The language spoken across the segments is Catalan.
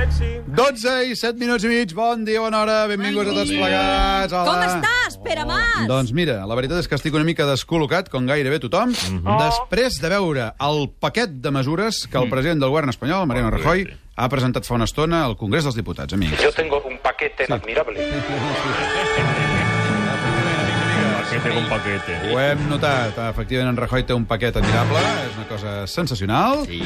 12 i 7 minuts i mig. Bon dia, bona hora, benvinguts a tots plegats. Hola. Com estàs, Pere Mas? Doncs mira, la veritat és que estic una mica descol·locat, com gairebé tothom, Mhm. després de veure el paquet de mesures que el president del govern espanyol, Mariano Rajoy, ha presentat fa una estona al Congrés dels Diputats, amics. Yo tengo un paquete admirable. Paquete con paquete. Ho hem notat. Efectivament, en Rajoy té un paquet admirable, és una cosa sensacional, sí.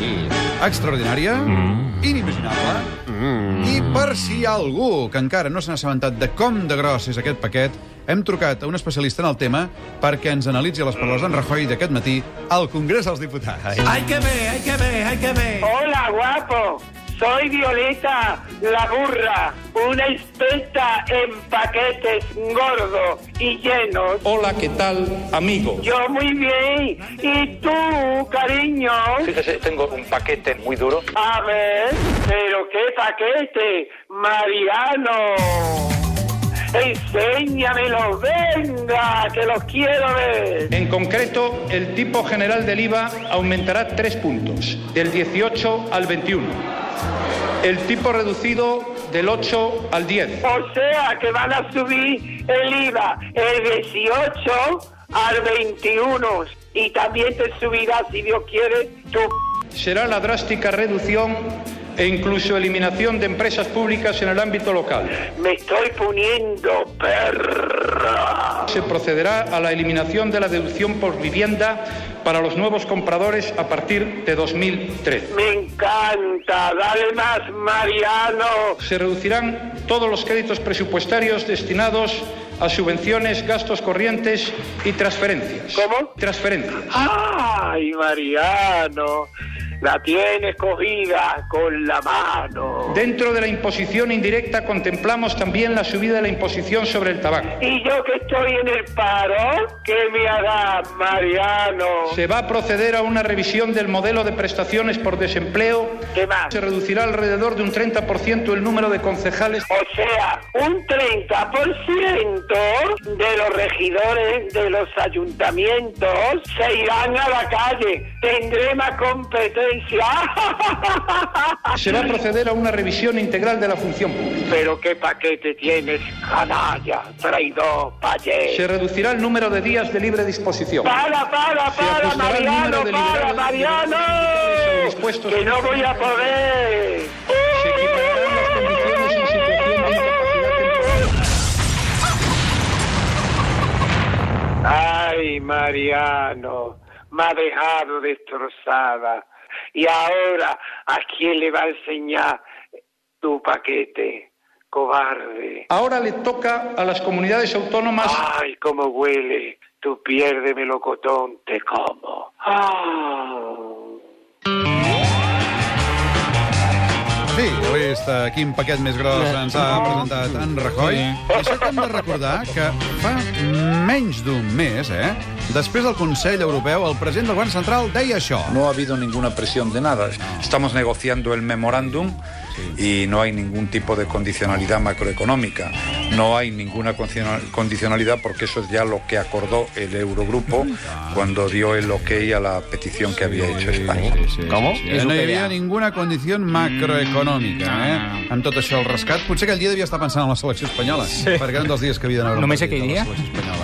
extraordinària, mm. inimaginable, mm. i per si hi ha algú que encara no s'ha assabentat de com de gros és aquest paquet, hem trucat a un especialista en el tema perquè ens analitzi les paraules d'en Rajoy d'aquest matí al Congrés dels Diputats. Hay que ver, hay que ver, hay que ver. Hola, guapo. Soy Violeta la burra, una experta en paquetes gordos y llenos. Hola, ¿qué tal, amigo? Yo muy bien. ¿Y tú, cariño? Fíjese, tengo un paquete muy duro. A ver, pero qué paquete, Mariano. Enséñamelo, venga, que los quiero ver. En concreto, el tipo general del IVA aumentará tres puntos, del 18 al 21. El tipo reducido del 8 al 10. O sea que van a subir el IVA el 18 al 21 y también te subirá, si Dios quiere, tu... Será la drástica reducción e incluso eliminación de empresas públicas en el ámbito local. Me estoy poniendo perra. Se procederá a la eliminación de la deducción por vivienda para los nuevos compradores a partir de 2013. Me encanta, dale más, Mariano. Se reducirán todos los créditos presupuestarios destinados a subvenciones, gastos corrientes y transferencias. ¿Cómo? Transferencias. Ay, Mariano, la tienes cogida con la mano. Dentro de la imposición indirecta contemplamos también la subida de la imposición sobre el tabaco. Y yo que estoy en el paro, ¿qué me hará, Mariano? Se va a proceder a una revisión del modelo de prestaciones por desempleo. ¿Qué más? Se reducirá alrededor de un 30% el número de concejales. O sea, un 30% de los regidores de los ayuntamientos se irán a la calle. Tendré más competencia. Se va a proceder a una revisión integral de la función pública. Pero qué paquete tienes, canalla, traidor, Se payé. reducirá el número de días de libre disposición. Para, para, Se para, ajustará el Mariano, número de para, liberados- Mariano. dispuestos- Que no voy a poder. Se equipararán las condiciones en situación de incapacidad temporal. Ay, Mariano, e me ha dejado destrozada. Y ahora, e ¿a quién le va a enseñar tu paquete, cobarde? Ahora le toca a las comunidades autónomas Ay, cómo huele. Tú piérdeme melocotón, te como. Ah. En fi, avui està quin paquet més gros ens ha presentat en Rajoy. I això que hem de recordar que fa menys d'un mes, eh? Després del Consell Europeu, el president del govern central deia això. No ha habido ninguna presión de nada. Estamos negociando el memorándum y no hay ningún tipo de condicionalidad macroeconómica. No hay ninguna condiciona- condicionalidad porque eso es ya lo que acordó el Eurogrupo cuando dio el ok a la petición que había hecho España. ¿Cómo? Eh, no hi havia ninguna condició Mm. macroeconòmica, eh? Amb tot això al rescat. Potser aquell dia devia estar pensant en la selecció espanyola, sí. perquè era un dels dies que havia d'anar a Només un partit aquell de la dia? selecció espanyola.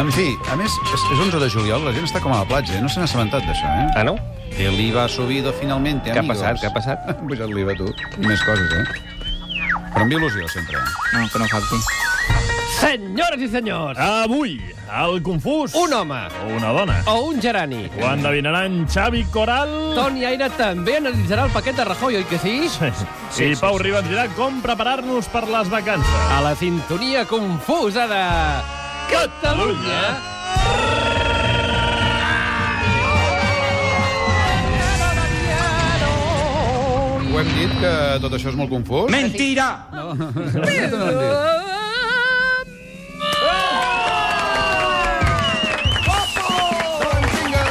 En fi, a més, és, és 11 de juliol, la gent està com a la platja, eh? no se n'ha assabentat d'això, eh? Ah, no? El IVA ha subido finalmente, Què ha amigos. passat? Què ha passat? Ha pujat l'IVA, tu. I més coses, eh? Però amb il·lusió, sempre. No, que no falti. Senyores i senyors, Avui, al confús... un home Una dona. o un gerani. Ho endevinaran Xavi Coral... Toni Aire també analitzarà el paquet de Rajoy, oi que sí? Sí, I Pau Riba ens dirà com preparar-nos per les vacances. A la sintonia confusa de... Catalunya! Ho hem dit que tot això és molt confús. Mentira. Mentida! Doncs vinga!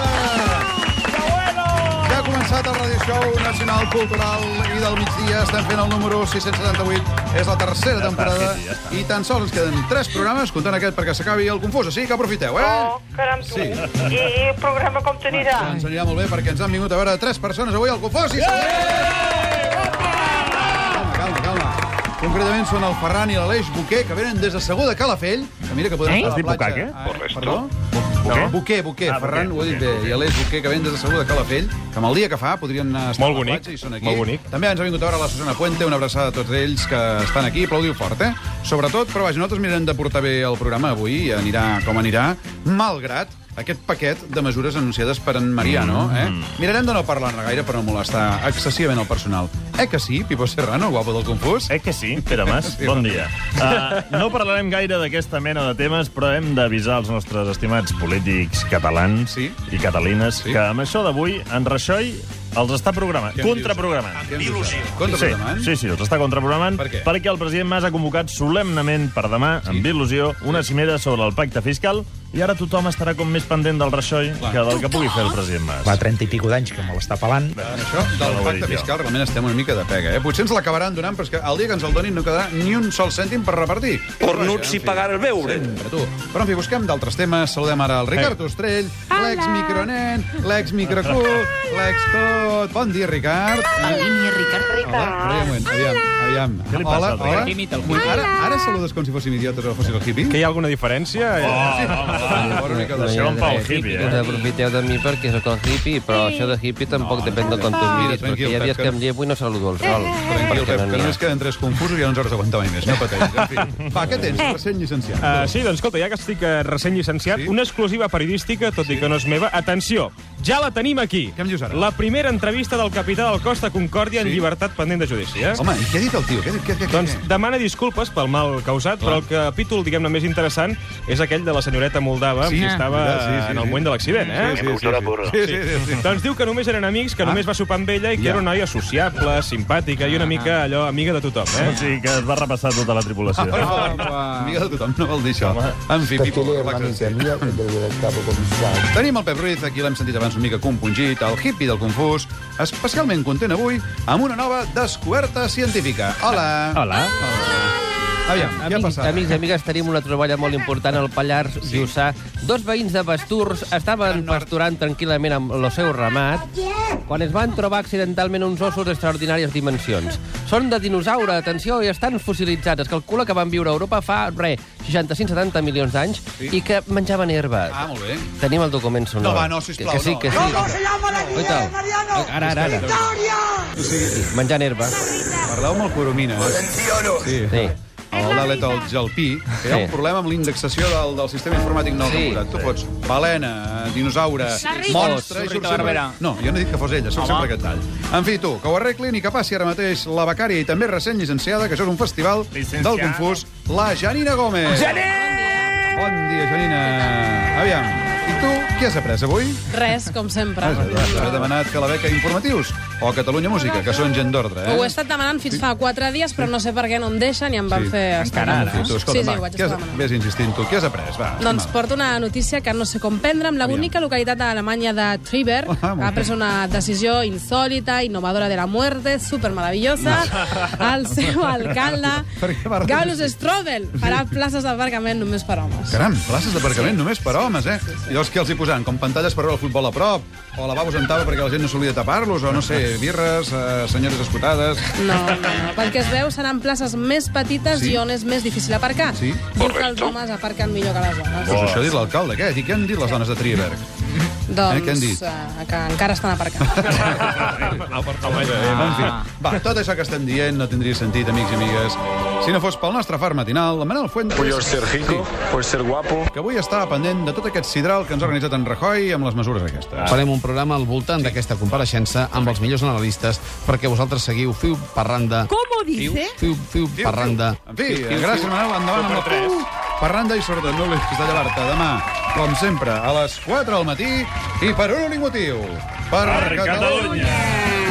Ja ha començat el Radio Show Nacional Cultural i del migdia estem fent el número 678. És la tercera temporada sí, sí, ja i tan sols ens queden tres programes comptant aquest perquè s'acabi el confús, així que aprofiteu, eh? Oh, caram, tu. Sí. I, I el programa com t'anirà? Ens anirà molt bé perquè ens han vingut a veure tres persones avui al confús i... Yeah! calma, calma. Concretament són el Ferran i l'Aleix Boquer, que venen des de Segur de Calafell, que mira que podem Eh? estar a Has la dit platja. Bucac, eh? Ah, Perdó? Buquer? No? Boquer, Boquer. Ah, Ferran Boquer, ho he dit bé. Boquer, I l'Aleix Boquer, que venen des de Segur de Calafell, que amb el dia que fa podrien estar a Molt la bonic, platja i són aquí. molt bonic. També ens ha vingut a veure la Susana Puente, una abraçada a tots ells que estan aquí. Aplaudiu fort, eh? Sobretot, però vaja, nosaltres mirarem de portar bé el programa avui, i anirà com anirà, malgrat aquest paquet de mesures anunciades per en Mariano, eh? Mm. Mirarem de no parlar-ne gaire per no molestar excessivament el personal. Eh que sí, Pipo Serrano, guapo del confús? Eh que sí, Pere Mas? Sí, Bon bon dia. Uh, no parlarem gaire d'aquesta mena de temes, però hem d'avisar els nostres estimats polítics catalans Sí. i catalines Sí. que amb això d'avui, en Raixoi els està programant, Què em dius? contraprogramant. Il·lusió. Sí, Contraprogramant? sí, sí, els està contraprogramant Per què? perquè el president Mas ha convocat solemnement per demà, amb il·lusió, una cimera sobre el pacte fiscal i ara tothom estarà com més pendent del Raixoi que del que pugui fer el president Mas. Fa 30 i pico d'anys que me l'està pelant. En això del Ja ho he pacte dit jo. fiscal realment estem una mica de pega, eh? Potser ens l'acabaran donant, però és que el dia que ens el donin no quedarà ni un sol cèntim per repartir. Cornuts i pagar el beure. Sempre, tu. Però, en fi, busquem d'altres temes. Saludem ara el Ricard Ostrell, l'ex-micronen, l'ex-microcul, l'ex-tot. Bon dia, Ricard. Línia Ricard. Hola, un moment, aviam, aviam. Què li passa hola, al Ricard? hola. Imita el Ui, Ara, ara saludes com si fóssim idiotes o fóssim el hippie? hi ha alguna diferència? Ah, Oh, Fora una mica de Això en Pau Hippie, Us eh? aprofiteu de mi perquè sóc el hippie, però això de hippie tampoc depèn de com tu em miris, tranquil, perquè hi ha dies Pep, que que- em llevo i no saludo el sol. Tranquil, perquè Pep, que eh. n'hi ha. només queden tres confusos i ja no ens hauràs d'aguantar mai més. No pateixis. En fi. Va, què tens? Eh. Recent llicenciat. Uh, sí, doncs escolta, ja que estic eh, recent llicenciat, Sí. sí? una exclusiva periodística, tot sí. i que no és meva. Atenció, ja la tenim aquí. Què em dius ara? La primera entrevista del capità del cos de Concòrdia sí? Sí. en llibertat pendent de judici, eh? Home, i què ha dit el tio? Què, què, què, Doncs què? demana disculpes pel mal causat, Clar. però el capítol, diguem-ne, més interessant és aquell de la senyoreta Moldava, Sí, que estava sí, sí, sí. en el moment de l'accident, eh? Sí, sí, sí, sí, sí, sí. Ah. Doncs diu que només eren amics, que només va sopar amb ella i que Ja. Ah. era una noia sociable, simpàtica i una mica, allò, amiga de tothom, eh? O sigui que es va repassar tota la tripulació. Per favor, amiga de tothom, no vol dir això. En fi, Pipo, relaxa't. Tenim el Pep Ruiz, aquí l'hem sentit abans una mica compungit, el hippie del confús, especialment content avui amb una nova descoberta científica. Hola. Hola. Aviam, què ha Amics, passat? amics i amigues, tenim una troballa molt important al Pallars sí. Jussà. Dos veïns de pasturs estaven pasturant tranquil·lament amb el seu ramat quan es van trobar accidentalment uns ossos d'extraordinàries dimensions. Són de dinosaure, atenció, i estan fossilitzats. Es calcula que van viure a Europa fa, re, 65-70 milions d'anys Sí. i que menjaven herba. Ah, molt bé. Tenim el document sonor. No, va, no, sisplau, Que sí, no. que sí. No, no, se llama la Guillem, Mariano? Ara, ara, ara. Menjant herba. Sí. Parleu amb el Coromina. Sí. Hola, Leto, el Gelpí. Que hi ha Sí. un problema amb l'indexació del, del sistema informàtic no Sí. regulat. Tu pots balena, dinosaure, monstre... i surt sempre... No, jo no he dit que fos ella, sóc sempre aquest tall. En fi, tu, que ho arreglin i que passi ara mateix la becària i també recent llicenciada, que això és un festival Licenciada. del confús, la Janina Gómez. Janina! Bon dia, Janina. Aviam, i tu, què has après avui? Res, com sempre. Has, has demanat que la beca Informatius o Catalunya Música, que són gent d'ordre, eh? Ho he estat demanant fins fa 4 dies, però no sé per què no em deixen i em van Sí. fer... Encara ara. Tu, escolta, eh? Sí, sí, va, ho vaig què has, estar demanant. Ves insistint tu. Què has après? Va, Doncs va. porto una notícia que no sé com prendre amb l'única localitat d'Alemanya de Triberg. Ah, molt ha bé. pres una decisió insòlita, innovadora de la muerte, supermeravellosa. El seu Per alcalde, què va renunciar? Gaulus Strobel, farà places d'aparcament només per homes. Caram, places d'aparcament només per homes, eh? I llavors què els hi posaran? Com pantalles per veure el futbol a prop? O lavabos en taula perquè la gent no s'oblida de tapar-los? O no sé, birres, eh, senyores escotades... No, no, no. Pel que es veu, seran places més petites Sí. i on és més difícil aparcar. Sí. Diu que els homes aparquen millor que les dones. Pues això ha dit l'alcalde, què? I què han dit les dones de Trierberg? Doncs, Eh, què han dit? eh, que encara estan aparcats. En fi, va, tot això que estem dient no tindria sentit, amics i amigues, si no fos pel nostre far matinal, la Manel Fuentes... Puyo ser rico, sí. Por ser guapo. que avui està pendent de tot aquest sidral que ens ha organitzat en Rajoy amb les mesures aquestes. Farem un programa al voltant d'aquesta compareixença amb els millors analistes perquè vosaltres seguiu Fiu Parranda. ¿Cómo dice? Fiu, fiu, Parranda. En fi, eh, gràcies, Manel. Endavant amb la Pou. Parranda i sobretot no oblidis de llevar-te demà, com sempre, a les 4 del matí i per un únic motiu. Per, Per Catalunya! Ah.